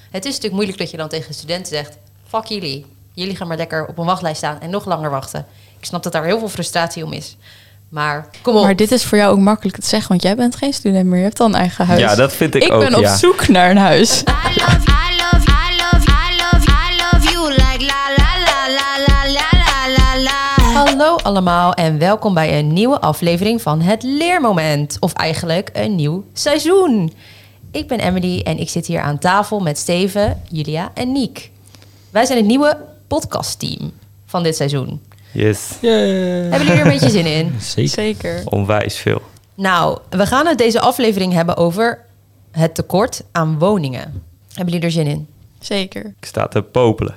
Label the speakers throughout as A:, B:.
A: Het is natuurlijk moeilijk dat je dan tegen studenten zegt: fuck jullie. Jullie gaan maar lekker op een wachtlijst staan en nog langer wachten. Ik snap dat daar heel veel frustratie om is. Maar kom op.
B: Maar dit is voor jou ook makkelijk te zeggen, want jij bent geen student meer. Je hebt al een eigen huis.
C: Ja, dat vind ik,
B: ik
C: ook.
B: ben op
C: ja.
B: zoek naar een huis.
D: I love, I love, I love, I love, I love you like la la la la la la la la la.
A: Hallo allemaal en welkom bij een nieuwe aflevering van Het Leermoment. Of eigenlijk een nieuw seizoen. Ik ben Emily en ik zit hier aan tafel met Steven, Julia en Niek. Wij zijn het nieuwe podcastteam van dit seizoen.
C: Yes,
A: Hebben jullie er een beetje zin in?
E: Zeker.
B: Zeker.
C: onwijs veel.
A: Nou, we gaan het deze aflevering hebben over het tekort aan woningen. Hebben jullie er zin in?
B: Zeker.
C: Ik sta te popelen.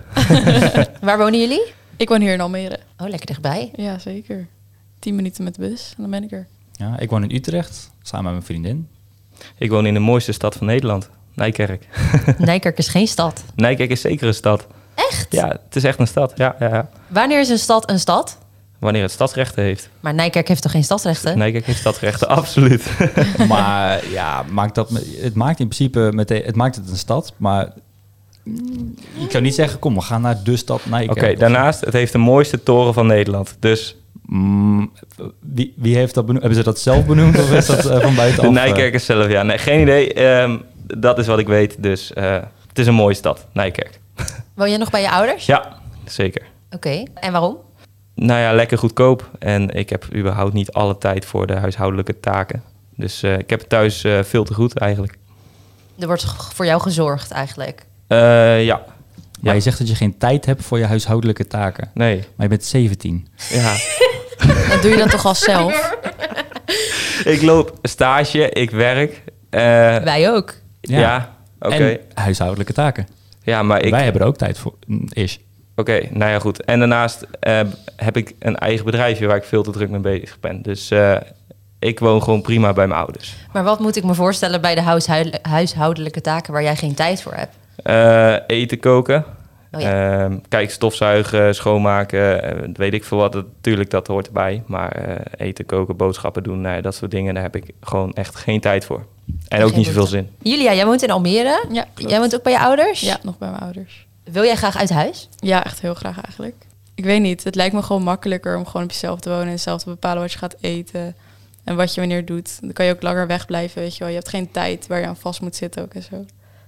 A: Waar wonen jullie?
B: Ik woon hier in Almere.
A: Oh, lekker dichtbij.
B: Ja, zeker. Tien minuten met de bus en dan ben ik er.
E: Ja, ik woon in Utrecht, samen met mijn vriendin.
C: Ik woon in de mooiste stad van Nederland, Nijkerk.
A: Nijkerk is geen stad.
C: Nijkerk is zeker een stad.
A: Echt?
C: Ja, het is echt een stad. Ja, ja, ja.
A: Wanneer is een stad een stad?
C: Wanneer het stadsrechten heeft.
A: Maar Nijkerk heeft toch geen stadsrechten?
C: Nijkerk heeft stadsrechten, absoluut.
E: Maar ja, maakt dat, me- het maakt in principe meteen, het maakt het een stad, maar mm, ik zou niet zeggen, kom, we gaan naar de stad Nijkerk.
C: Oké,
E: of zo.
C: daarnaast, het heeft de mooiste toren van Nederland. Dus
E: Mm, wie, wie heeft dat benoemd? Hebben ze dat zelf benoemd of is dat eh, van buitenaf?
C: de
E: eh?
C: Nijkerkers zelf, ja. Nee, geen idee. Ehm, dat is wat ik weet. Dus eh, het is een mooie stad, Nijkerk.
A: Woon jij nog bij je ouders?
C: Ja, zeker.
A: Oké, en waarom?
C: Nou ja, lekker goedkoop. En ik heb überhaupt niet alle tijd voor de huishoudelijke taken. Dus eh, ik heb het thuis eh, veel te goed eigenlijk.
A: Er wordt g- voor jou gezorgd eigenlijk.
C: Eh, ja,
E: Maar je zegt dat je geen tijd hebt voor je huishoudelijke taken.
C: nee.
E: Maar je bent 17.
C: Ja.
B: Dat doe je dan toch al zelf?
C: ik loop stage, ik werk. Eh,
A: Wij ook.
C: ja, oké.
E: En huishoudelijke taken.
C: Ja, maar ik...
E: Wij hebben er ook tijd voor, mm, is.
C: Oké, nou ja, goed. En daarnaast eh, heb ik een eigen bedrijfje waar ik veel te druk mee bezig ben. Dus eh, ik woon gewoon prima bij mijn ouders.
A: Maar wat moet ik me voorstellen bij de huishuil- huishoudelijke taken waar jij geen tijd voor hebt?
C: Eh, eten koken.
A: Oh
C: Ehm, kijk, stofzuigen, schoonmaken, eh, weet ik veel wat. Dat- Tuurlijk, dat hoort erbij. Maar eh, eten, koken, boodschappen doen, nou ja, dat soort dingen, daar heb ik gewoon echt geen tijd voor. En ook
A: Geen
C: niet zoveel zin.
A: Julia, jij woont in Almere.
B: Ja,
A: Jij woont ook bij je ouders?
B: ja, nog bij mijn ouders.
A: Wil jij graag uit huis?
B: Ja, echt heel graag eigenlijk. Ik weet niet, het lijkt me gewoon makkelijker om gewoon op jezelf te wonen en zelf te bepalen wat je gaat eten en wat je wanneer doet. Dan kan je ook langer wegblijven, weet je wel. Je hebt geen tijd waar je aan vast moet zitten ook en zo.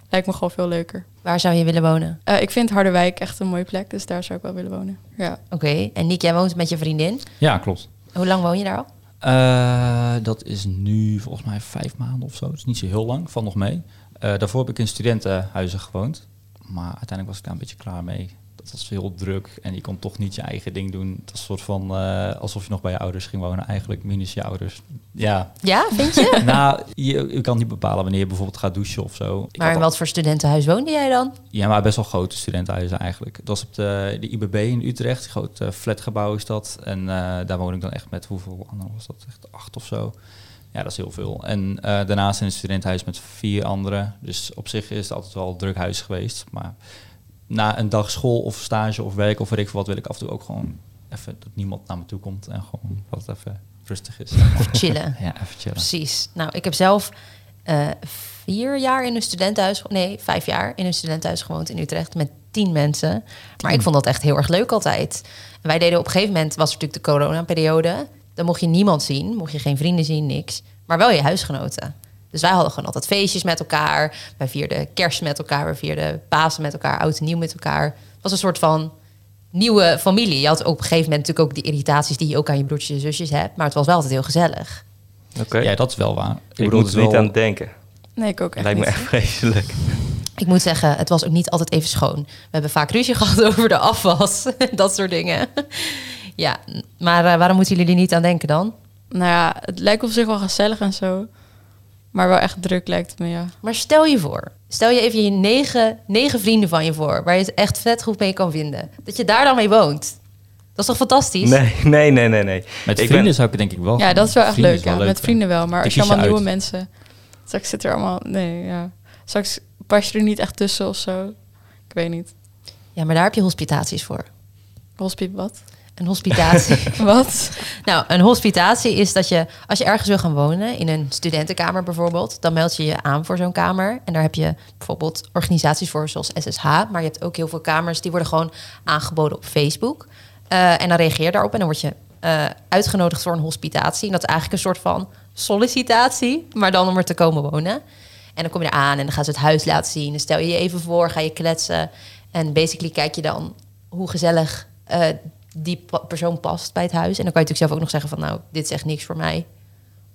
B: Lijkt me gewoon veel leuker.
A: Waar zou je willen wonen?
B: Eh, ik vind Harderwijk echt een mooie plek, dus daar zou ik wel willen wonen. Ja.
A: Oké, en Niek, jij woont met je vriendin.
E: Ja, klopt.
A: Hoe lang woon je daar al?
E: Eh, dat is nu volgens mij vijf maanden of zo. Dat is niet zo heel lang, van nog mee. Eh, daarvoor heb ik in studentenhuizen gewoond. Maar uiteindelijk was ik daar een beetje klaar mee. Dat was heel druk en je kon toch niet je eigen ding doen. Het was een soort van eh, alsof je nog bij je ouders ging wonen. Eigenlijk minus je ouders. Ja,
A: Ja, vind je?
E: nou, je, je kan niet bepalen wanneer je bijvoorbeeld gaat douchen of zo. Ik
A: maar
E: had
A: in
E: al-
A: wat voor studentenhuis woonde jij dan?
E: Ja, maar best wel grote studentenhuizen eigenlijk. Dat was op de, de IBB in Utrecht, een groot eh, flatgebouw is dat. En eh, daar woon ik dan echt met, hoeveel anderen was dat? Echt acht of zo. Ja, dat is heel veel. En eh, daarnaast in een studentenhuis met vier anderen. Dus op zich is het altijd wel een druk huis geweest. Maar na een dag school of stage of werk of weet ik veel wat, wil ik af en toe ook gewoon even dat niemand naar me toe komt. En gewoon wat even rustig is.
A: Of chillen?
E: ja, even chillen.
A: Precies. Nou, ik heb zelf eh, vier jaar in een studentenhuis, nee, vijf jaar in een studentenhuis gewoond in Utrecht met tien mensen. Maar ik vond dat echt heel erg leuk altijd. En wij deden op een gegeven moment, was er natuurlijk de coronaperiode. Dan mocht je niemand zien, mocht je geen vrienden zien, niks. Maar wel je huisgenoten. Dus wij hadden gewoon altijd feestjes met elkaar. Wij vierden kerst met elkaar, we vierden Pasen met elkaar, oud en nieuw met elkaar. Het was een soort van nieuwe familie. Je had op een gegeven moment natuurlijk ook die irritaties die je ook aan je broertjes en zusjes hebt. Maar het was wel altijd heel gezellig.
C: Oké.
E: Ja, dat is wel waar. Ik,
C: ik
E: bedoel,
C: moet
E: het
C: er
E: is
C: niet
E: wel-
C: aan denken.
B: Nee, ik ook echt
C: Lijkt me
B: niet.
C: echt vreselijk.
A: Ik moet zeggen, het was ook niet altijd even schoon. We hebben vaak ruzie gehad over de afwas. Dat soort dingen. Ja, maar eh, waarom moeten jullie er niet aan denken dan?
B: Nou ja, het lijkt op zich wel gezellig en zo. Maar wel echt druk lijkt het me, ja.
A: Maar stel je voor. Stel je even je negen, negen vrienden van je voor. Waar je het echt vet goed mee kan vinden. Dat je daar dan mee woont. Dat is toch fantastisch?
C: Nee, nee, nee, nee. nee.
E: Met
C: Ik
E: vrienden
C: ben-
E: zou ik het denk ik wel
B: Ja, dat is wel echt
E: vrienden
B: leuk. ja. Met
E: leuker.
B: vrienden wel, maar
E: Dan
B: als je
E: kies je
B: allemaal nieuwe
E: uit.
B: mensen... Straks zit er allemaal... Nee, ja. Straks pas je er niet echt tussen of zo. Ik weet niet.
A: Ja, maar daar heb je hospitaties voor.
B: Hospiep wat?
A: Een hospitatie.
B: Wat?
A: nou, een hospitatie is dat je, als je ergens wil gaan wonen, in een studentenkamer bijvoorbeeld, dan meld je je aan voor zo'n kamer. En daar heb je bijvoorbeeld organisaties voor, zoals SSH. Maar je hebt ook heel veel kamers die worden gewoon aangeboden op Facebook. Eh, en dan reageer je daarop en dan word je eh, uitgenodigd voor een hospitatie. En dat is eigenlijk een soort van sollicitatie, maar dan om er te komen wonen. En dan kom je eraan en dan gaan ze het huis laten zien. Dan stel je je even voor, ga je kletsen. En basically kijk je dan hoe gezellig eh, die pa- persoon past bij het huis. En dan kan je natuurlijk zelf ook nog zeggen van nou, dit is echt niks voor mij.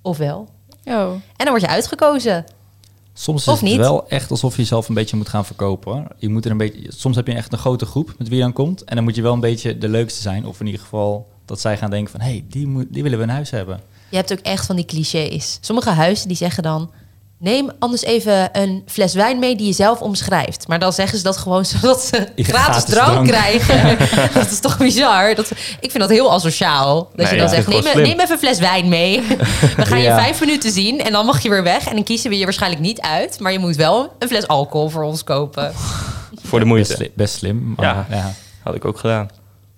A: Of wel.
B: Oh.
A: En dan word je uitgekozen.
E: Soms
A: Of
E: is het
A: niet?
E: wel echt alsof je jezelf een beetje moet gaan verkopen. hoor. Je moet er een beetje, soms heb je echt een grote groep met wie je dan komt. En dan moet je wel een beetje de leukste zijn. Of in ieder geval dat zij gaan denken van... hé, hey, die, moet- die willen we in huis hebben.
A: Je hebt ook echt van die clichés. Sommige huizen die zeggen dan... neem anders even een fles wijn mee die je zelf omschrijft. Maar dan zeggen ze dat gewoon zodat ze
E: Ja,
A: gratis
E: gratis
A: drank,
E: drank.
A: krijgen. dat is toch bizar? Dat, ik vind dat heel asociaal. Dat
C: Nee,
A: je dan
C: ja, dat
A: zegt,
C: is gewoon
A: neem,
C: slim.
A: neem even een fles wijn mee. We gaan
E: Ja.
A: je vijf minuten zien en dan mag je weer weg. En dan kiezen we je waarschijnlijk niet uit. Maar je moet wel een fles alcohol voor ons kopen.
C: Voor de
E: Best,
C: moeite.
E: sli- best slim. Maar,
C: Ja.
E: ja.
C: Had ik ook gedaan.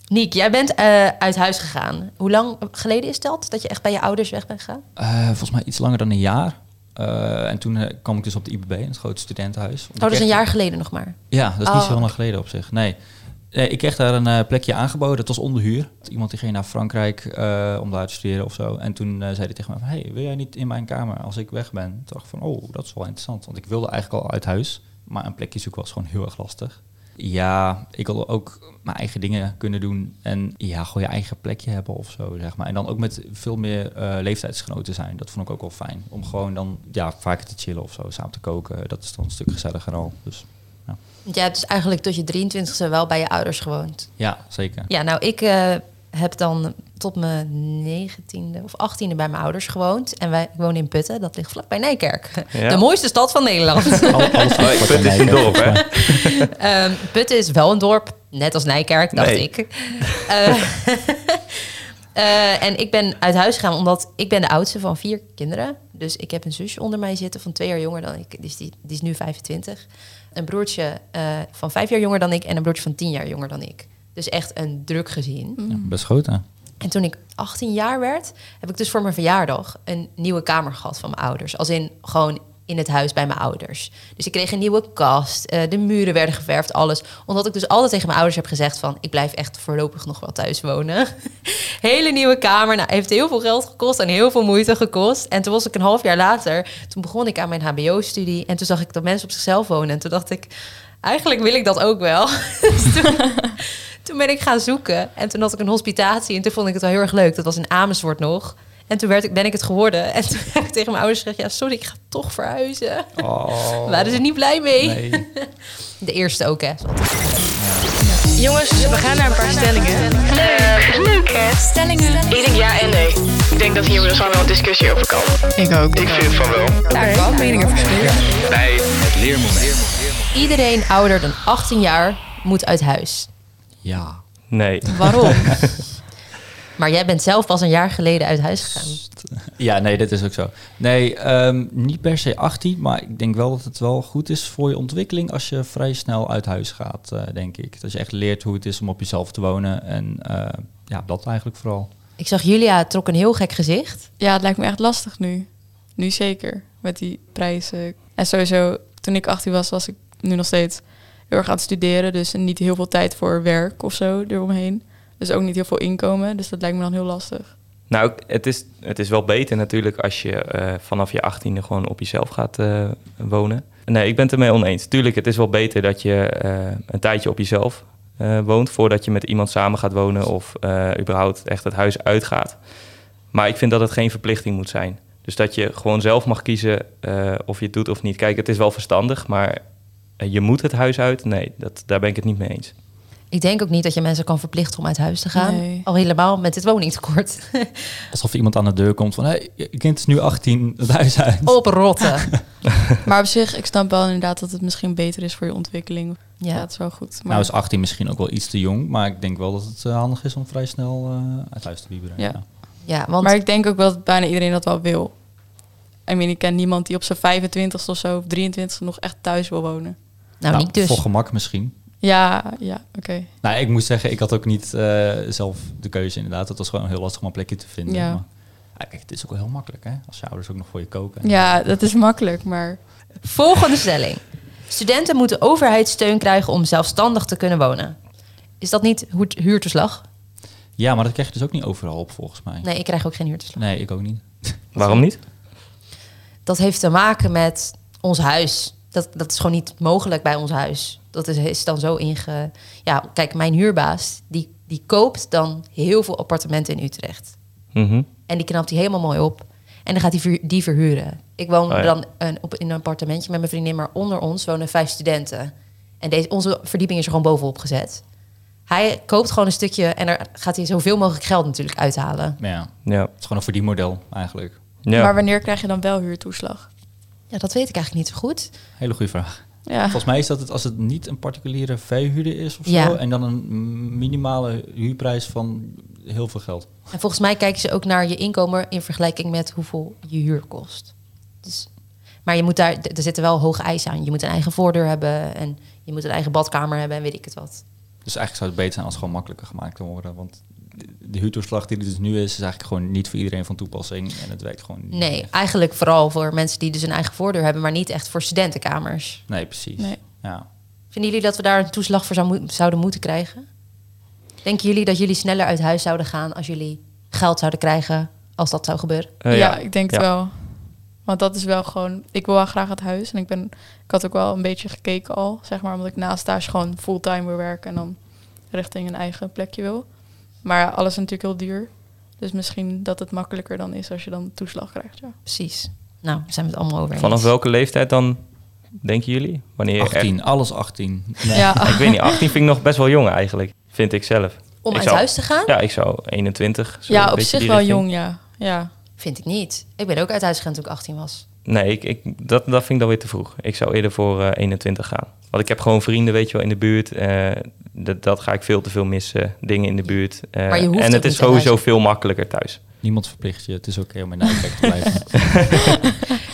A: Niek, jij bent eh, uit huis gegaan. Hoe lang geleden is dat? Dat je echt bij je ouders weg bent gegaan?
E: Eh, volgens mij iets langer dan een jaar. Eh, en toen eh, kwam ik dus op de IBB, het grote studentenhuis. Omdat
A: Oh, dat
E: ik
A: is een
E: echt-
A: jaar geleden nog maar.
E: Ja, dat is niet
A: Oh.
E: zo heel lang geleden op zich. Nee. Nee, ik kreeg daar een eh, plekje aangeboden. Het was onderhuur. Iemand die ging naar Frankrijk eh, om daar te studeren of zo. En toen eh, zei hij tegen me van... Hey, wil jij niet in mijn kamer als ik weg ben? Toen dacht ik van, oh, dat is wel interessant. Want ik wilde eigenlijk al uit huis. Maar een plekje zoeken was gewoon heel erg lastig. Ja, ik wilde ook mijn eigen dingen kunnen doen. En ja, gewoon je eigen plekje hebben of zo, zeg maar. En dan ook met veel meer eh, leeftijdsgenoten zijn. Dat vond ik ook wel fijn. Om gewoon dan ja, vaker te chillen of zo. Samen te koken. Dat is dan een stuk gezelliger al. Dus... ja.
A: Want jij hebt dus eigenlijk tot je 23e wel bij je ouders gewoond.
E: Ja, zeker.
A: Ja, nou, ik eh, heb dan tot mijn 19e of 18e bij mijn ouders gewoond. En wij ik woon in Putten, dat ligt vlakbij Nijkerk.
C: Ja.
A: De mooiste stad van Nederland.
E: Al- alles
C: Oh,
E: wat
C: Putten
E: aan
C: is een
E: mij-
C: dorp, hè?
A: Ehm, Putten is wel een dorp, net als Nijkerk, dacht
C: Nee.
A: ik. Eh, eh, en ik ben uit huis gegaan omdat ik ben de oudste van vier kinderen. Dus ik heb een zusje onder mij zitten van twee jaar jonger dan ik. Die is, die, die is nu 25. Een broertje eh, van vijf jaar jonger dan ik en een broertje van tien jaar jonger dan ik. Dus echt een druk gezin.
E: Ja, best groot, hè?
A: En toen ik 18 jaar werd, heb ik dus voor mijn verjaardag een nieuwe kamer gehad van mijn ouders. Als in gewoon in het huis bij mijn ouders. Dus ik kreeg een nieuwe kast, eh, de muren werden geverfd, alles. Omdat ik dus altijd tegen mijn ouders heb gezegd van... ik blijf echt voorlopig nog wel thuis wonen. Hele nieuwe kamer, nou, heeft heel veel geld gekost en heel veel moeite gekost. En toen was ik een half jaar later, toen begon ik aan mijn hbo-studie... en toen zag ik dat mensen op zichzelf wonen. En toen dacht ik, eigenlijk wil ik dat ook wel. Dus toen- toen ben ik gaan zoeken en toen had ik een hospitatie en toen vond ik het wel heel erg leuk. Dat was in Amersfoort nog. En toen werd ik, ben ik het geworden. En toen heb ik tegen mijn ouders gezegd, ja sorry, ik ga toch verhuizen.
E: Oh,
A: Waren ze niet blij mee?
E: nee.
A: De eerste ook, hè.
F: Jongens, we gaan naar een paar stellingen. Leuk, leuk hè? Stellingen. Ik denk ja en nee. Ik denk dat hier dus gewoon wel een discussie over kan.
B: Ik ook.
G: Ik vind van wel.
F: Daar wel meningen verschillen.
G: Bij het leermoment.
A: Iedereen ouder dan 18 jaar moet uit huis.
E: Ja.
C: Nee.
A: Waarom? maar jij bent zelf pas een jaar geleden uit huis gegaan.
E: Ja, nee, dit is ook zo. Nee, ehm, niet per se 18, maar ik denk wel dat het wel goed is voor je ontwikkeling als je vrij snel uit huis gaat, eh, denk ik. Dat je echt leert hoe het is om op jezelf te wonen en eh, ja, dat eigenlijk vooral.
A: Ik zag Julia trok een heel gek gezicht.
B: Ja, het lijkt me echt lastig nu. Nu zeker, met die prijzen. En sowieso, toen ik 18 was, was ik nu nog steeds heel erg aan het studeren. Dus niet heel veel tijd voor werk of zo eromheen. Dus ook niet heel veel inkomen. Dus dat lijkt me dan heel lastig.
C: Nou, het is, het is wel beter natuurlijk als je eh, vanaf je 18e gewoon op jezelf gaat eh, wonen. Nee, ik ben het ermee oneens. Tuurlijk, het is wel beter dat je eh, een tijdje op jezelf eh, woont voordat je met iemand samen gaat wonen of eh, überhaupt echt het huis uitgaat. Maar ik vind dat het geen verplichting moet zijn. Dus dat je gewoon zelf mag kiezen eh, of je het doet of niet. Kijk, het is wel verstandig, maar eh, je moet het huis uit? Nee, dat, daar ben ik het niet mee eens.
A: Ik denk ook niet dat je mensen kan verplichten om uit huis te gaan.
B: Nee.
A: Al helemaal met dit woningtekort.
E: Alsof iemand aan de deur komt van, hé, hey, je kind is nu 18, het huis uit.
A: Oh. Oprotten.
B: Maar op zich, ik snap wel inderdaad dat het misschien beter is voor je ontwikkeling. Ja,
A: Ja.
B: dat is wel goed. Maar
E: Nou is 18 misschien ook wel iets te jong, maar ik denk wel dat het eh, handig is om vrij snel eh, uit huis te wieberen.
B: Ja.
A: ja, want
B: Maar ik denk ook wel dat bijna iedereen dat wel wil. I mean, ik ken niemand die op zijn 25ste of zo, of 23ste nog echt thuis wil wonen.
A: nou,
E: Nou,
A: niet dus.
E: Voor gemak misschien.
B: Ja, ja, oké.
E: Nou, ik moet zeggen, ik had ook niet eh, zelf de keuze inderdaad. Het was gewoon heel lastig om een plekje te vinden.
B: Ja.
E: Maar, ah, kijk, het is ook wel heel makkelijk, hè? Als je ouders ook nog voor je koken.
B: Ja, dat is makkelijk, maar
A: Volgende stelling. Studenten moeten overheidssteun krijgen om zelfstandig te kunnen wonen. Is dat niet hu- huurtoeslag?
E: Ja, maar dat krijg je dus ook niet overal op, volgens mij.
A: Nee, ik krijg ook geen huurtoeslag.
E: Nee, ik ook niet.
C: Waarom niet?
A: Dat heeft te maken met ons huis. Dat, dat is gewoon niet mogelijk bij ons huis. Dat is, is dan zo inge... Ja, kijk, mijn huurbaas, die, die koopt dan heel veel appartementen in Utrecht.
C: Mhm.
A: En die knapt die helemaal mooi op. En dan gaat hij die, die verhuren. Ik woon
C: Oh ja.
A: dan een, op, in een appartementje met mijn vriendin, maar onder ons wonen vijf studenten. En deze, onze verdieping is er gewoon bovenop gezet. Hij koopt gewoon een stukje en daar gaat hij zoveel mogelijk geld natuurlijk uithalen.
E: Maar ja, het
C: Ja.
E: is gewoon een verdienmodel eigenlijk.
C: ja.
B: Maar wanneer krijg je dan wel huurtoeslag?
A: Ja, dat weet ik eigenlijk niet zo goed.
E: Hele goede vraag.
B: Ja.
E: Volgens mij is dat het als het niet een particuliere verhuurder is of
A: Ja.
E: zo. En dan een minimale huurprijs van heel veel geld.
A: En volgens mij kijken ze ook naar je inkomen in vergelijking met hoeveel je huur kost. Dus, maar je moet daar, d- er zitten wel hoge eisen aan. Je moet een eigen voordeur hebben en je moet een eigen badkamer hebben en weet ik het wat.
E: Dus eigenlijk zou het beter zijn als het gewoon makkelijker gemaakt kan worden. Want de- de huurtoeslag die er dus nu is, is eigenlijk gewoon niet voor iedereen van toepassing. En het werkt gewoon niet.
A: Nee,
E: echt.
A: eigenlijk vooral voor mensen die dus een eigen voordeur hebben, maar niet echt voor studentenkamers.
E: Nee, precies.
B: Nee.
E: Ja.
A: Vinden jullie dat we daar een toeslag voor zou moe- zouden moeten krijgen? Denken jullie dat jullie sneller uit huis zouden gaan als jullie geld zouden krijgen als dat zou gebeuren?
C: Eh,
B: ja, ik denk het
C: Ja.
B: wel. Want dat is wel gewoon... Ik wil wel graag het huis. En ik, ben, ik had ook wel een beetje gekeken al, zeg maar. Omdat ik na stage gewoon fulltime wil werken. En dan richting een eigen plekje wil. Maar ja, alles is natuurlijk heel duur. Dus misschien dat het makkelijker dan is als je dan toeslag krijgt, ja.
A: Precies. Nou, daar zijn we het allemaal over eens.
C: Vanaf welke leeftijd dan, denken jullie? Wanneer je echt-
E: 18, alles 18. Nee.
B: Ja,
C: Ik weet niet, 18 vind ik nog best wel jong eigenlijk, vind ik zelf.
A: Om
C: Ik
A: uit
C: zou-
A: huis te gaan?
C: Ja, ik zou 21. zo een
B: ja op
C: beetje
B: zich
C: die
B: wel
C: richting.
B: jong, ja. Ja,
A: Vind ik niet. Ik ben ook uit huis gegaan toen ik 18 was.
C: Nee, ik, ik, dat, dat vind ik dan weer te vroeg. Ik zou eerder voor eh, 21 gaan. Want ik heb gewoon vrienden, weet je wel, in de buurt. Eh, dat, dat ga ik veel te veel missen. Dingen in de buurt. Eh,
A: Maar je hoeft
C: en
A: ook
C: het is
A: niet uit
C: sowieso
A: huis.
C: veel makkelijker thuis.
E: Niemand verplicht je. Het is oké om in de uitkijk te blijven.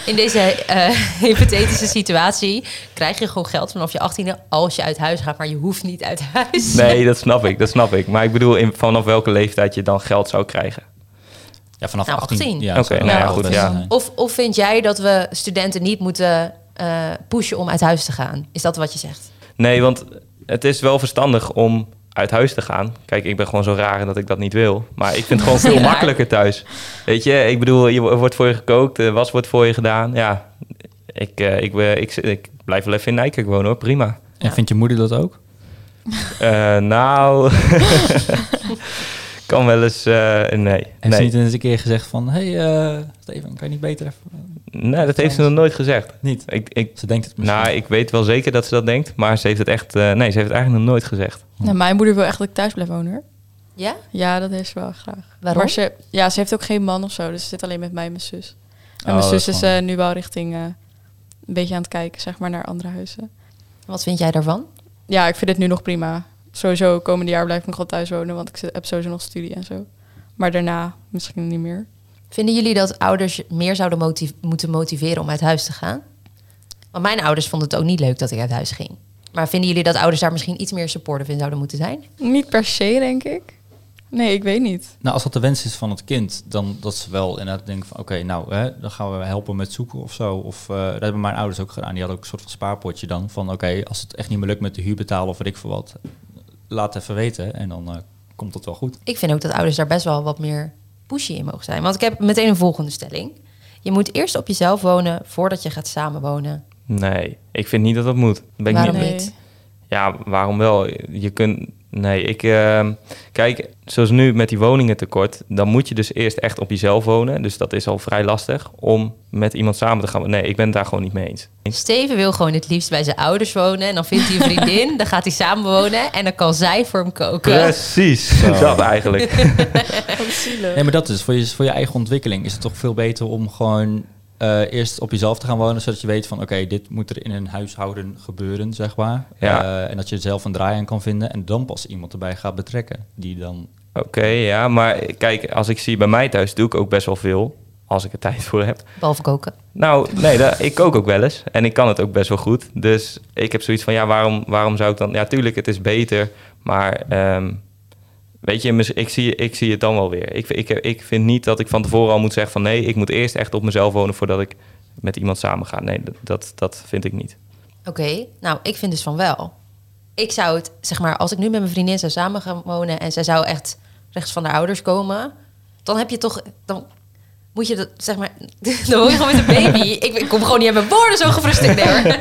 A: In deze eh, hypothetische situatie krijg je gewoon geld vanaf je 18e als je uit huis gaat, maar je hoeft niet uit huis.
C: Nee, dat snap ik, dat snap ik. Maar ik bedoel, in, vanaf welke leeftijd je dan geld zou krijgen.
E: Ja, vanaf
A: Nou,
E: 18.
A: 18.
E: Ja,
C: Oké,
E: zou
C: nou
E: dat
C: ja,
E: wel
C: goed,
E: best
C: ja.
E: zijn.
A: Of, of vind jij dat we studenten niet moeten eh, pushen om uit huis te gaan? Is dat wat je zegt?
C: Nee, want het is wel verstandig om uit huis te gaan. Kijk, ik ben gewoon zo raar dat ik dat niet wil. Maar ik vind het gewoon veel
A: Ja.
C: makkelijker thuis. Weet je, ik bedoel, je wo- er wordt voor je gekookt, eh, was wordt voor je gedaan. Ja, ik, eh, ik, eh, ik, ik, ik blijf wel even in Nijkerk wonen hoor, prima.
E: En vindt je moeder dat ook?
C: Eh, nou, kan wel eens, eh, nee.
E: Heeft ze
C: Nee.
E: niet eens een keer gezegd van... Hé, hey, eh, Steven, kan je niet beter even...
C: nee, dat heeft ze nog nooit gezegd.
E: Niet.
C: Ik, ik,
E: Ze denkt het misschien.
C: nou, ik weet wel zeker dat ze dat denkt, maar ze heeft het echt, eh, nee, ze heeft het eigenlijk nog nooit gezegd.
B: Nou, mijn moeder wil echt dat ik thuis blijf wonen, hoor.
A: Ja?
B: Ja, dat heeft ze wel graag.
A: Waarom?
B: Maar ze, ja, ze heeft ook geen man of zo, dus ze zit alleen met mij en mijn zus. En
E: Oh,
B: mijn
E: dat
B: zus
E: is
B: is
E: gewoon-
B: eh, nu wel richting eh, een beetje aan het kijken, zeg maar, naar andere huizen.
A: Wat vind jij daarvan?
B: Ja, ik vind het nu nog prima. Sowieso, komende jaar blijf ik nog wel thuis wonen, want ik zit- heb sowieso nog studie en zo. Maar daarna misschien niet meer.
A: Vinden jullie dat ouders je meer zouden motiv- moeten motiveren om uit huis te gaan? Want mijn ouders vonden het ook niet leuk dat ik uit huis ging. Maar vinden jullie dat ouders daar misschien iets meer supportive in zouden moeten zijn?
B: Niet per se, denk ik. Nee, ik weet niet.
E: Nou, als dat de wens is van het kind, dan dat ze wel inderdaad denken van... oké, nou, hè, dan gaan we helpen met zoeken of zo. Of eh, dat hebben mijn ouders ook gedaan. Die hadden ook een soort van spaarpotje dan. Van oké, als het echt niet meer lukt met de huur betalen of weet ik veel wat... laat even weten en dan eh, komt het wel goed.
A: Ik vind ook dat ouders daar best wel wat meer pushy in mogen zijn. Want ik heb meteen een volgende stelling. Je moet eerst op jezelf wonen voordat je gaat samenwonen.
C: Nee, ik vind niet dat dat moet. Ben ik
A: Waarom
C: niet,
B: Nee.
A: niet?
C: Ja, waarom wel? Je kunt. Nee, ik. ehm, kijk, zoals nu met die woningentekort, dan moet je dus eerst echt op jezelf wonen. Dus dat is al vrij lastig om met iemand samen te gaan. Nee, ik ben het daar gewoon niet mee eens.
A: Steven wil gewoon het liefst bij zijn ouders wonen. En dan vindt hij een vriendin, dan gaat hij samenwonen. En dan kan zij voor hem koken.
C: Precies, dat eigenlijk.
E: Nee, maar dat is voor je, voor je eigen ontwikkeling is het toch veel beter om gewoon eh, eerst op jezelf te gaan wonen, zodat je weet van oké, dit moet er in een huishouden gebeuren, zeg maar.
C: Ja.
E: Eh, en dat je er zelf een draai aan kan vinden en dan pas iemand erbij gaat betrekken. Die dan.
C: Oké, ja, maar kijk, als ik zie bij mij thuis, doe ik ook best wel veel. Als ik er tijd voor heb.
A: Behalve koken.
C: Nou, nee, da- ik kook ook wel eens. En ik kan het ook best wel goed. Dus ik heb zoiets van, ja, waarom, waarom zou ik dan... Ja, tuurlijk, het is beter. Maar ehm, weet je, mis- ik zie, ik zie het dan wel weer. Ik, ik, ik vind niet dat ik van tevoren al moet zeggen van... nee, ik moet eerst echt op mezelf wonen voordat ik met iemand samen ga. Nee, dat- dat, dat vind ik niet.
A: Oké, nou, ik vind dus van wel. Ik zou het, zeg maar, als ik nu met mijn vriendin zou samen gaan wonen en zij zou echt rechts van haar ouders komen, dan heb je toch, dan moet je dat, zeg maar, dan hoor je gewoon met een baby. Ik, ik kom gewoon niet aan mijn woorden zo gefrustreerd. Nee, hoor.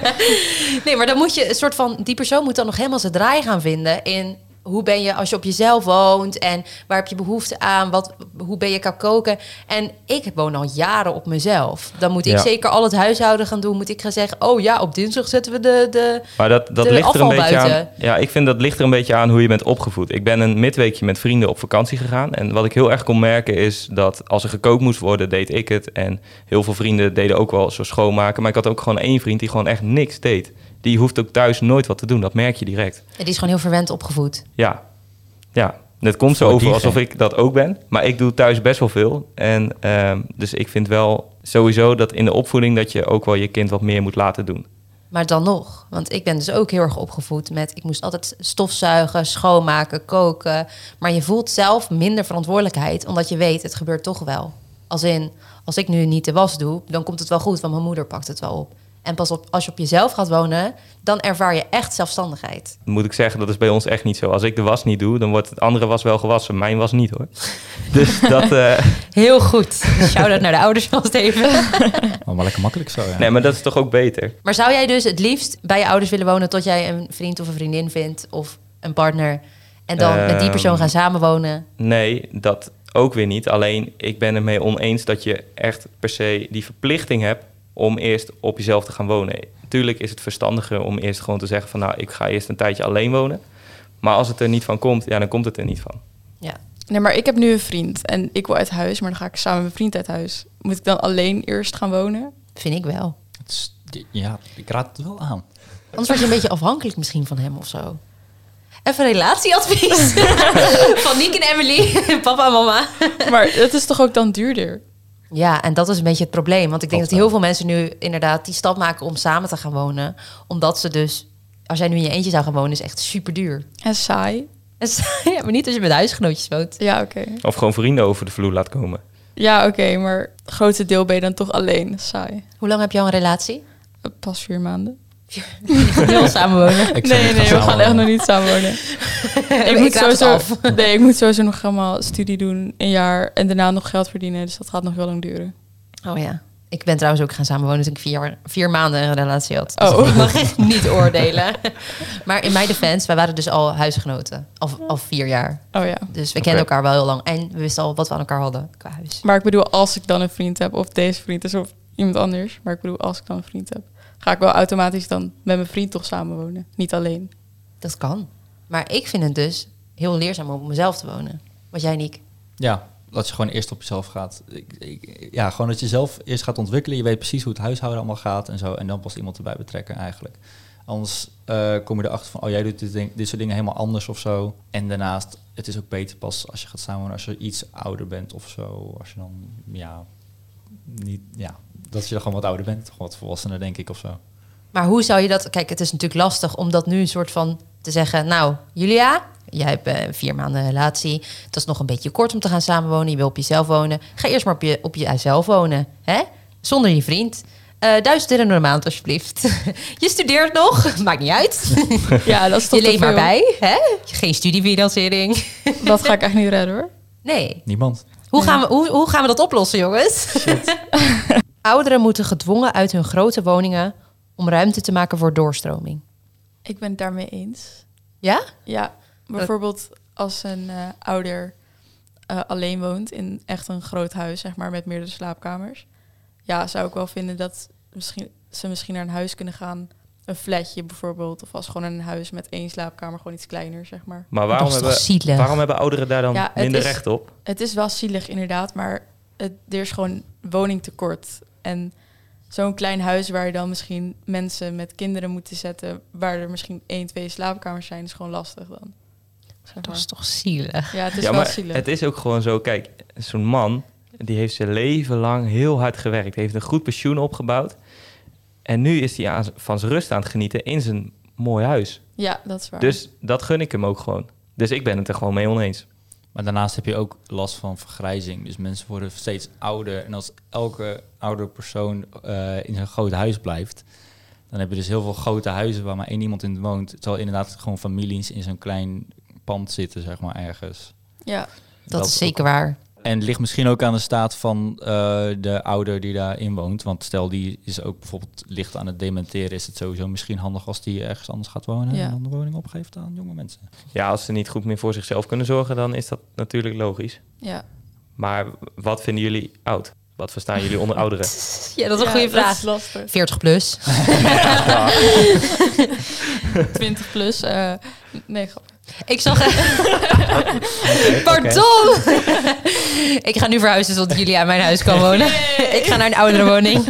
A: nee, maar dan moet je een soort van, die persoon moet dan nog helemaal zijn draai gaan vinden in hoe ben je als je op jezelf woont en waar heb je behoefte aan, wat, hoe ben je kan koken. En ik woon al jaren op mezelf. Dan moet ik
C: Ja.
A: zeker al het huishouden gaan doen, moet ik gaan zeggen, oh ja, op dinsdag zetten we de, de
C: Maar dat, dat
A: De
C: ligt er een
A: afval
C: beetje aan.
A: buiten.
C: Ja, ik vind dat ligt er een beetje aan hoe je bent opgevoed. Ik ben een midweekje met vrienden op vakantie gegaan. En wat ik heel erg kon merken is dat als er gekookt moest worden, deed ik het. En heel veel vrienden deden ook wel zo schoonmaken. Maar ik had ook gewoon één vriend die gewoon echt niks deed. Die hoeft ook thuis nooit wat te doen. Dat merk je direct.
A: Het is gewoon heel verwend opgevoed.
C: Ja, ja. Het komt zo
E: Voor
C: over
E: diegene.
C: alsof ik dat ook ben. Maar ik doe thuis best wel veel. En ehm, dus ik vind wel sowieso dat in de opvoeding dat je ook wel je kind wat meer moet laten doen.
A: Maar dan nog, want ik ben dus ook heel erg opgevoed met... ik moest altijd stofzuigen, schoonmaken, koken. Maar je voelt zelf minder verantwoordelijkheid... omdat je weet, het gebeurt toch wel. Als in, als ik nu niet de was doe, dan komt het wel goed... want mijn moeder pakt het wel op. En pas op, als je op jezelf gaat wonen, dan ervaar je echt zelfstandigheid.
C: moet ik zeggen, dat is bij ons echt niet zo. Als ik de was niet doe, dan wordt het andere was wel gewassen. Mijn was niet hoor. Dus dat. eh,
A: Heel goed. Shout-out naar de ouders van Steven.
E: Maar wel lekker makkelijk zo, ja.
C: nee, maar dat is toch ook beter.
A: Maar zou jij dus het liefst bij je ouders willen wonen... tot jij een vriend of een vriendin vindt of een partner... en dan met die persoon
C: Ehm.
A: gaan samenwonen...
C: Nee, dat ook weer niet. Alleen ik ben ermee oneens dat je echt per se die verplichting hebt om eerst op jezelf te gaan wonen. Tuurlijk is het verstandiger om eerst gewoon te zeggen van nou, ik ga eerst een tijdje alleen wonen. Maar als het er niet van komt, ja, dan komt het er niet van.
A: Ja,
B: Nee, maar ik heb nu een vriend en ik wil uit huis, maar dan ga ik samen met mijn vriend uit huis. Moet ik dan alleen eerst gaan wonen?
A: vind ik wel.
E: Het is- ja, ik raad het wel aan.
A: Anders word je een beetje afhankelijk misschien van hem of zo. Even relatieadvies van Nick en Emily, papa en mama.
B: Maar het is toch ook dan duurder?
A: Ja, en dat is een beetje het probleem. Want ik denk
E: Klopt
A: dat heel veel mensen nu inderdaad die stap maken om samen te gaan wonen. Omdat ze dus, als jij nu in je eentje zou gaan wonen, is echt super duur.
B: En saai?
A: Dus, ja, maar niet als je met huisgenootjes woont.
B: Ja, oké.
C: Of gewoon vrienden over de vloer laat komen.
B: Ja, oké, maar grote deel ben je dan toch alleen. Saai.
A: Hoe lang heb je al een relatie?
B: Eh, Pas vier maanden.
A: Nul samen wonen.
E: Ik zou
B: nee,
E: niet
B: nee, we gaan
E: samenwonen.
B: echt nog niet samen wonen. ik, moet
A: raad het
B: sowieso,
A: af.
B: nee, ik moet sowieso nog helemaal studie doen, een jaar. En daarna nog geld verdienen, dus dat gaat nog heel lang duren.
A: Oh ja. Ik ben trouwens ook gaan samenwonen toen ik vier, vier maanden een relatie had. Dus
B: Oh.
A: ik mag echt niet oordelen. Maar in mijn defense, wij waren dus al huisgenoten. Al, al vier jaar.
B: Oh ja.
A: Dus we
C: Oké.
A: kenden elkaar wel heel lang. En we wisten al wat we aan elkaar hadden qua huis.
B: Maar ik bedoel, als ik dan een vriend heb, of deze vriend is, of iemand anders. Maar ik bedoel, als ik dan een vriend heb, ga ik wel automatisch dan met mijn vriend toch samenwonen. Niet alleen.
A: Dat kan. Maar ik vind het dus heel leerzaam om op mezelf te wonen. Wat jij, Niek?
E: Ja, dat je gewoon eerst op jezelf gaat. Ik, ik- ja, gewoon dat je zelf eerst gaat ontwikkelen. Je weet precies hoe het huishouden allemaal gaat en zo. En dan pas iemand erbij betrekken eigenlijk. Anders eh, kom je erachter van, oh jij doet dit, ding- dit soort dingen helemaal anders of zo. En daarnaast, het is ook beter pas als je gaat samenwonen als je iets ouder bent of zo. Als je dan, ja, niet, ja, dat je dan gewoon wat ouder bent. Gewoon wat volwassener denk ik of zo.
A: Maar hoe zou je dat... Kijk, het is natuurlijk lastig om dat nu een soort van te zeggen... Nou, Julia, jij hebt eh, vier maanden relatie. Het is nog een beetje kort om te gaan samenwonen. Je wil op jezelf wonen. Ga eerst maar op, je, op jezelf wonen. Hè? Zonder je vriend. Eh duizend euro per maand, alsjeblieft. je studeert nog. Maakt niet uit.
B: Ja, dat is toch
A: je leeft
B: te
A: maar
B: veel.
A: bij. Hè? Geen studiefinanciering.
B: Dat ga ik echt niet redden hoor.
A: Nee.
E: Niemand.
A: Hoe gaan, we, hoe, hoe gaan we dat oplossen, jongens? Ouderen moeten gedwongen uit hun grote woningen... om ruimte te maken voor doorstroming.
B: Ik ben het daarmee eens.
A: Ja?
B: Ja, bijvoorbeeld als een eh, ouder eh, alleen woont in echt een groot huis, zeg maar, met meerdere slaapkamers. Ja, zou ik wel vinden dat misschien, ze misschien naar een huis kunnen gaan. Een flatje bijvoorbeeld, of als gewoon een huis met één slaapkamer, gewoon iets kleiner, zeg maar.
C: Maar waarom,
A: is toch
C: hebben,
A: zielig?
C: waarom hebben ouderen daar dan
B: Ja, het
C: minder
B: is-
C: recht op?
B: Het is wel zielig inderdaad, maar het, er is gewoon woningtekort. En zo'n klein huis waar je dan misschien mensen met kinderen moet zetten, waar er misschien één, twee slaapkamers zijn, is gewoon lastig dan. Zeg
A: Dat
B: maar.
A: is toch zielig?
B: Ja, het is
C: ja,
B: wel
C: maar
B: zielig.
C: het is ook gewoon zo. Kijk, zo'n man Die heeft zijn leven lang heel hard gewerkt. Heeft een goed pensioen opgebouwd. En nu is hij aan z- van zijn rust aan het genieten in zijn mooi huis.
B: Ja, dat is waar.
C: Dus dat gun ik hem ook gewoon. Dus ik ben het er gewoon mee oneens.
E: Maar daarnaast heb je ook last van vergrijzing. Dus mensen worden steeds ouder. En als elke oude persoon eh, in zijn groot huis blijft, dan heb je dus heel veel grote huizen waar maar één iemand in woont. Terwijl inderdaad gewoon families in zo'n klein pand zitten, zeg maar, ergens.
B: ja.
A: Dat, is
E: ook-
A: zeker waar.
E: En het ligt misschien ook aan de staat van eh, de ouder die daarin woont. Want stel die is ook bijvoorbeeld licht aan het dementeren, is het sowieso misschien handig als die ergens anders gaat wonen
B: Ja.
E: en dan de woning opgeeft aan jonge mensen.
C: Ja, als ze niet goed meer voor zichzelf kunnen zorgen, dan is dat natuurlijk logisch.
B: ja.
C: Maar wat vinden jullie oud? Wat verstaan jullie onder ouderen?
A: Ja, dat is een
B: Ja,
A: goede
B: Dat
A: vraag.
B: is lastig.
A: 40 plus.
B: 20 plus. eh, nee, grappig.
A: Ik zag. Pardon! ik ga nu verhuizen zodat jullie aan mijn huis kan wonen. ik ga naar een oudere woning.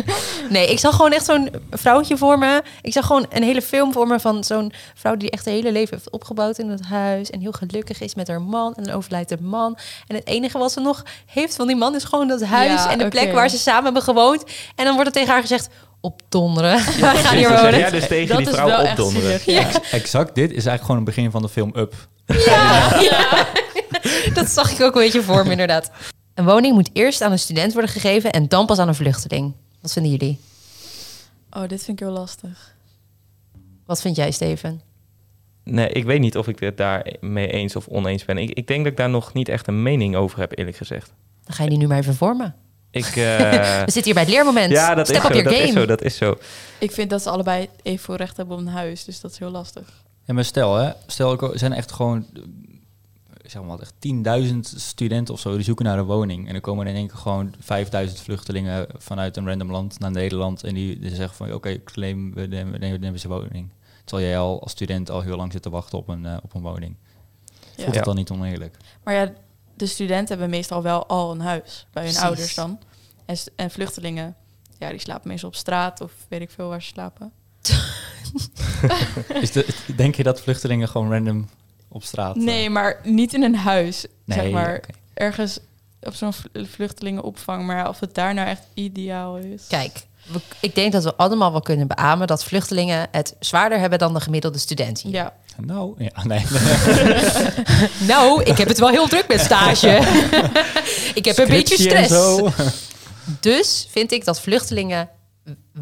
A: Nee, ik zag gewoon echt zo'n vrouwtje voor me. Ik zag gewoon een hele film voor me van zo'n vrouw die echt haar hele leven heeft opgebouwd in dat huis. En heel gelukkig is met haar man. En dan overlijdt de man. En het enige wat ze nog heeft van die man is gewoon dat huis
B: Ja,
A: en de
B: oké.
A: plek waar ze samen hebben gewoond. En dan wordt er tegen haar gezegd: opdonderen. We gaan
C: Precies,
A: hier
C: dan zeg
A: wonen.
C: jij dus tegen
B: dat
C: die
B: is
C: vrouw
B: wel echt
C: opdonderen.
B: zielig, ja.
E: Exact, dit is eigenlijk gewoon het begin van de film Up.
A: Dat zag ik ook een beetje voor me, inderdaad. Een woning moet eerst aan een student worden gegeven en dan pas aan een vluchteling. Wat vinden jullie?
B: Oh, dit vind ik heel lastig.
A: Wat vind jij, Steven?
C: Nee, ik weet niet of ik het daar mee eens of oneens ben. Ik, ik denk dat ik daar nog niet echt een mening over heb, eerlijk gezegd.
A: Dan ga je die nu maar even vormen.
C: Ik, eh,
A: We zitten hier bij het leermoment.
C: ja, dat,
A: Step
C: is
A: up
C: zo,
A: your
C: dat
A: game.
C: is zo, dat is zo.
B: Ik vind dat ze allebei even veel recht hebben op een huis. Dus dat is heel lastig.
E: Ja, maar stel, hè, stel ik- er zijn echt gewoon, eh, zeg maar, wat, echt 10.000 studenten of zo die zoeken naar een woning. En dan komen er in één keer gewoon 5.000 vluchtelingen vanuit een random land naar Nederland. En die, die zeggen van, oké, claim, we nemen, we nemen, we nemen zijn woning. Terwijl jij al als student al heel lang zit te wachten op een, eh, op een woning. Voelt
B: Ja.
E: het dan niet oneerlijk?
B: Maar ja, de studenten hebben meestal wel al een huis. Bij hun
A: Precies.
B: ouders dan. En, s- en vluchtelingen, ja, die slapen meestal op straat. Of weet ik veel waar ze slapen.
E: Is de, denk je dat vluchtelingen gewoon random op straat... eh,
B: Nee, maar niet in een huis. zeg
E: Nee,
B: maar
E: oké.
B: ergens op zo'n vl- vluchtelingenopvang. Maar ja, of het daar nou echt ideaal is.
A: Kijk, we- ik denk dat we allemaal wel kunnen beamen dat vluchtelingen het zwaarder hebben dan de gemiddelde student hier.
B: Ja,
E: Nou, ja, nee.
A: Nou, ik heb het wel heel druk met stage. ik heb een beetje
E: Scriptie en
A: stress. Dus vind ik dat vluchtelingen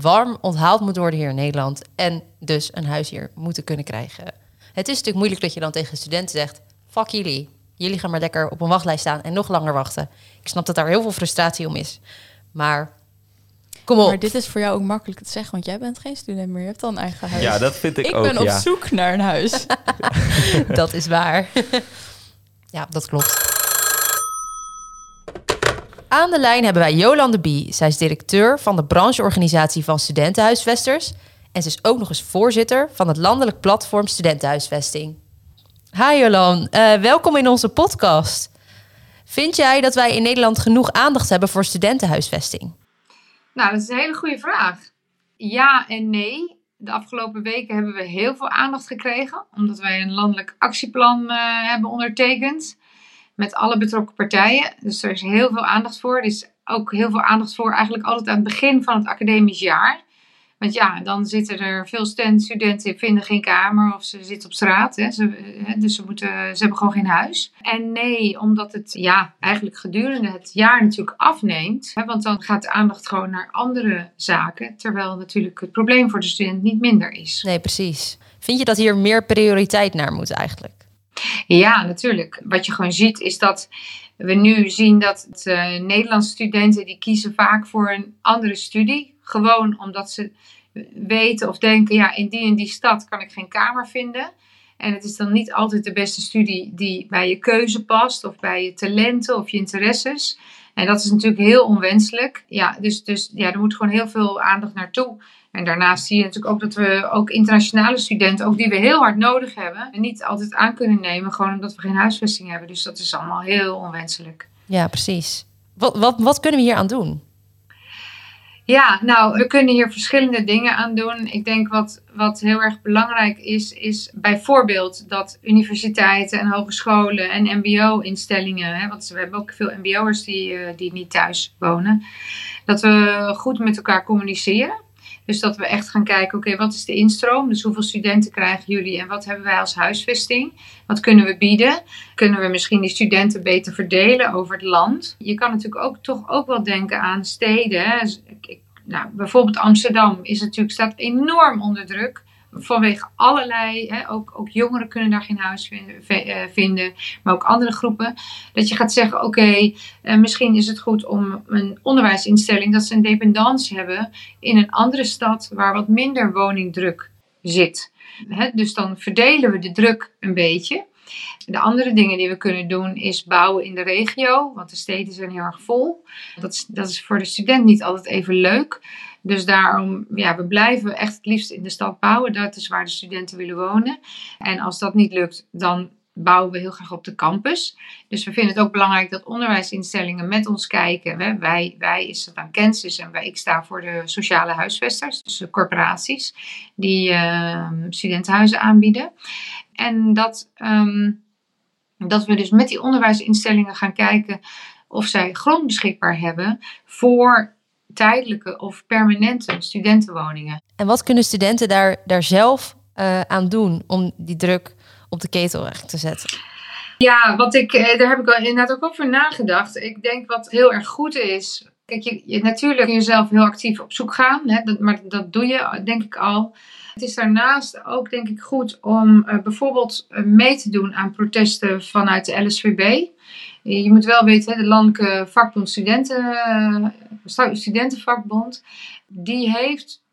A: warm onthaald moeten worden hier in Nederland. En dus een huis hier moeten kunnen krijgen. Het is natuurlijk moeilijk dat je dan tegen studenten zegt: Fuck jullie. Jullie gaan maar lekker op een wachtlijst staan en nog langer wachten. Ik snap dat daar heel veel frustratie om is. Maar kom op.
B: maar dit is voor jou ook makkelijk te zeggen, want jij bent geen student meer. Je hebt al een eigen huis.
C: Ja, dat vind ik,
B: ik
C: ook,
B: ben op
C: ja.
B: zoek naar een huis.
A: Dat is waar. ja, dat klopt. Aan de lijn hebben wij Jolande B. Zij is directeur van de brancheorganisatie van studentenhuisvesters. En ze is ook nog eens voorzitter van het landelijk platform Studentenhuisvesting. Hi Jolan, eh, welkom in onze podcast. Vind jij dat wij in Nederland genoeg aandacht hebben voor studentenhuisvesting?
H: Nou, dat is een hele goede vraag. Ja en nee. De afgelopen weken hebben we heel veel aandacht gekregen, omdat wij een landelijk actieplan eh, hebben ondertekend met alle betrokken partijen. Dus er is heel veel aandacht voor. Er is ook heel veel aandacht voor eigenlijk altijd aan het begin van het academisch jaar. Want ja, dan zitten er veel sten- studenten vinden geen kamer of ze zitten op straat. Hè. Ze, eh, dus ze, moeten, ze hebben gewoon geen huis. En nee, omdat het ja, eigenlijk gedurende het jaar natuurlijk afneemt. Hè, want dan gaat de aandacht gewoon naar andere zaken. Terwijl natuurlijk het probleem voor de student niet minder is.
A: Nee, precies. Vind je dat hier meer prioriteit naar moet eigenlijk?
H: Ja, natuurlijk. Wat je gewoon ziet is dat we nu zien dat eh, Nederlandse studenten die kiezen vaak voor een andere studie. Gewoon omdat ze weten of denken, ja, in die en die stad kan ik geen kamer vinden. En het is dan niet altijd de beste studie die bij je keuze past of bij je talenten of je interesses. En dat is natuurlijk heel onwenselijk. Ja, dus, dus ja, er moet gewoon heel veel aandacht naartoe. En daarnaast zie je natuurlijk ook dat we ook internationale studenten, ook die we heel hard nodig hebben, niet altijd aan kunnen nemen, gewoon omdat we geen huisvesting hebben. Dus dat is allemaal heel onwenselijk.
A: Ja, precies. Wat, wat, wat kunnen we hier aan doen?
H: Ja, nou, we kunnen hier verschillende dingen aan doen. Ik denk wat, wat heel erg belangrijk is, is bijvoorbeeld dat universiteiten en hogescholen en MBO-instellingen, hè, want we hebben ook veel MBO'ers die, eh, die niet thuis wonen, dat we goed met elkaar communiceren. Dus dat we echt gaan kijken, oké, wat is de instroom? Dus hoeveel studenten krijgen jullie en wat hebben wij als huisvesting? Wat kunnen we bieden? Kunnen we misschien die studenten beter verdelen over het land? Je kan natuurlijk ook toch ook wel denken aan steden. hè. Dus ik- ik- Nou, bijvoorbeeld Amsterdam is natuurlijk, staat enorm onder druk. Vanwege allerlei, hè, ook, ook jongeren kunnen daar geen huis vin- ve- eh, vinden, maar ook andere groepen. Dat je gaat zeggen: oké, eh, misschien is het goed om een onderwijsinstelling dat ze een dependance hebben in een andere stad waar wat minder woningdruk zit. Hè, dus dan verdelen we de druk een beetje. De andere dingen die we kunnen doen is bouwen in de regio, want de steden zijn heel erg vol. Dat is, dat is voor de student niet altijd even leuk. Dus daarom, ja, we blijven echt het liefst in de stad bouwen. Dat is waar de studenten willen wonen. En als dat niet lukt, dan bouwen we heel graag op de campus. Dus we vinden het ook belangrijk dat onderwijsinstellingen met ons kijken. Hè. Wij, wij is dat aan Kansas en wij, ik sta voor de sociale huisvesters, dus de corporaties die eh, studentenhuizen aanbieden. En dat, ehm, dat we dus met die onderwijsinstellingen gaan kijken of zij grond beschikbaar hebben voor tijdelijke of permanente studentenwoningen.
A: En wat kunnen studenten daar, daar zelf eh, aan doen om die druk op de ketel eigenlijk te zetten?
H: Ja, wat ik, eh, daar heb ik al inderdaad ook over nagedacht. Ik denk wat heel erg goed is. Kijk, je, je- natuurlijk kun je zelf heel actief op zoek gaan, hè, dat, maar dat doe je denk ik al. Het is daarnaast ook denk ik goed om eh, bijvoorbeeld eh, mee te doen aan protesten vanuit de LSVB. Eh, Je moet wel weten, hè, de Landelijke Vakbond Studenten, eh, Studentenvakbond, die heeft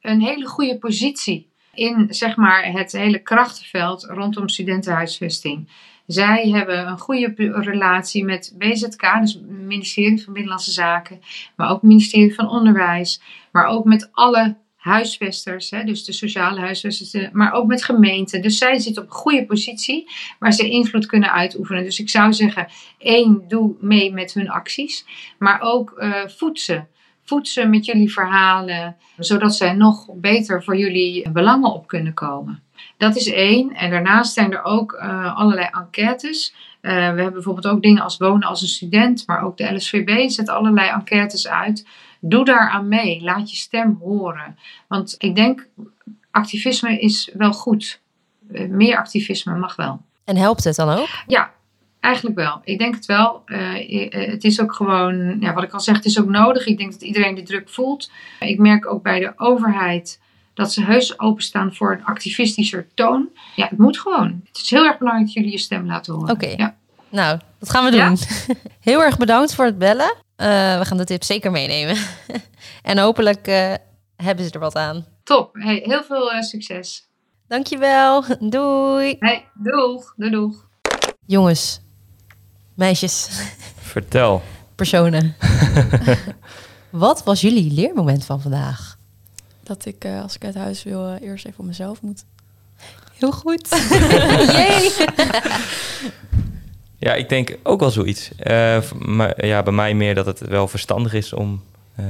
H: een hele goede positie in zeg maar, het hele krachtenveld rondom studentenhuisvesting. Zij hebben een goede pu- relatie met BZK, dus het ministerie van Binnenlandse Zaken, maar ook het ministerie van Onderwijs, maar ook met alle huisvesters, hè, dus de sociale huisvesters, de- maar ook met gemeenten. Dus zij zitten op een goede positie waar ze invloed kunnen uitoefenen. Dus ik zou zeggen, één, doe mee met hun acties, maar ook eh voed ze. Voed ze met jullie verhalen, zodat zij nog beter voor jullie belangen op kunnen komen. Dat is één. En daarnaast zijn er ook eh, allerlei enquêtes. Eh, we hebben bijvoorbeeld ook dingen als wonen als een student, maar ook de LSVB zet allerlei enquêtes uit. Doe daaraan mee, laat je stem horen. Want ik denk, activisme is wel goed. Eh, meer activisme mag wel.
A: En helpt het dan ook?
H: Ja, eigenlijk wel. Ik denk het wel. Eh, eh, het is ook gewoon, ja, wat ik al zeg, het is ook nodig. Ik denk dat iedereen de druk voelt. Ik merk ook bij de overheid dat ze heus openstaan voor een activistischer toon. Ja, het moet gewoon. Het is heel erg belangrijk dat jullie je stem laten horen.
A: Oké.
H: Ja.
A: Nou, dat gaan we doen.
H: Ja.
A: Heel erg bedankt voor het bellen. Eh, we gaan de tips zeker meenemen. en hopelijk eh, hebben ze er wat aan.
H: Top. Hey, heel veel eh, succes.
A: Dankjewel. Doei.
H: Hey, doeg. Doei, doeg.
A: Jongens, meisjes,
C: Vertel.
A: personen. wat was jullie leermoment van vandaag?
B: Dat ik, eh, als ik uit huis wil, eh, eerst even op mezelf moet.
A: Heel goed. Jee.
C: Ja, ik denk ook wel zoiets. Eh, v- maar ja, bij mij meer dat het wel verstandig is om eh,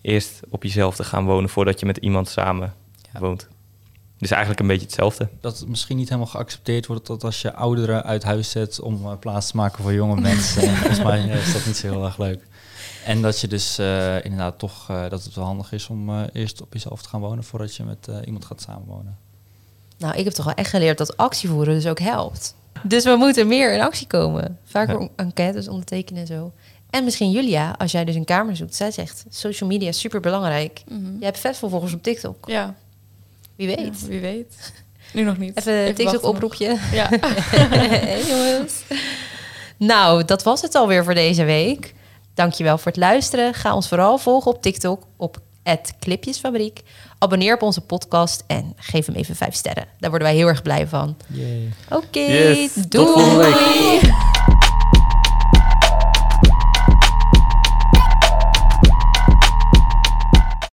C: eerst op jezelf te gaan wonen voordat je met iemand samen
E: Ja.
C: woont. Dus eigenlijk een beetje hetzelfde.
E: Dat het misschien niet helemaal geaccepteerd wordt dat als je ouderen uit huis zet om eh, plaats te maken voor jonge mensen. En Volgens mij eh, is dat niet zo heel erg leuk. En dat je dus eh, inderdaad toch, eh, dat het wel handig is om eh, eerst op jezelf te gaan wonen voordat je met eh, iemand gaat samenwonen.
A: Nou, ik heb toch wel echt geleerd dat actievoeren dus ook helpt. Dus we moeten meer in actie komen. Vaker om enquêtes ondertekenen en zo. En misschien Julia, als jij dus een kamer zoekt. Zij zegt, social media is superbelangrijk. Je hebt vet volgers op TikTok.
B: Ja,
A: Wie
B: Mhm. ja,
A: weet.
B: wie weet. Nu nog niet.
A: Even, een TikTok
B: wachten nog.
A: oproepje.
B: Ja.
A: hey, jongens. Nou, dat was het alweer voor deze week. Dankjewel voor het luisteren. Ga ons vooral volgen op TikTok op @clipjesfabriek. Abonneer op onze podcast en geef hem even vijf sterren. Daar worden wij heel erg blij van. Oké,
C: Yes, tot
A: doei.
C: volgende
A: week.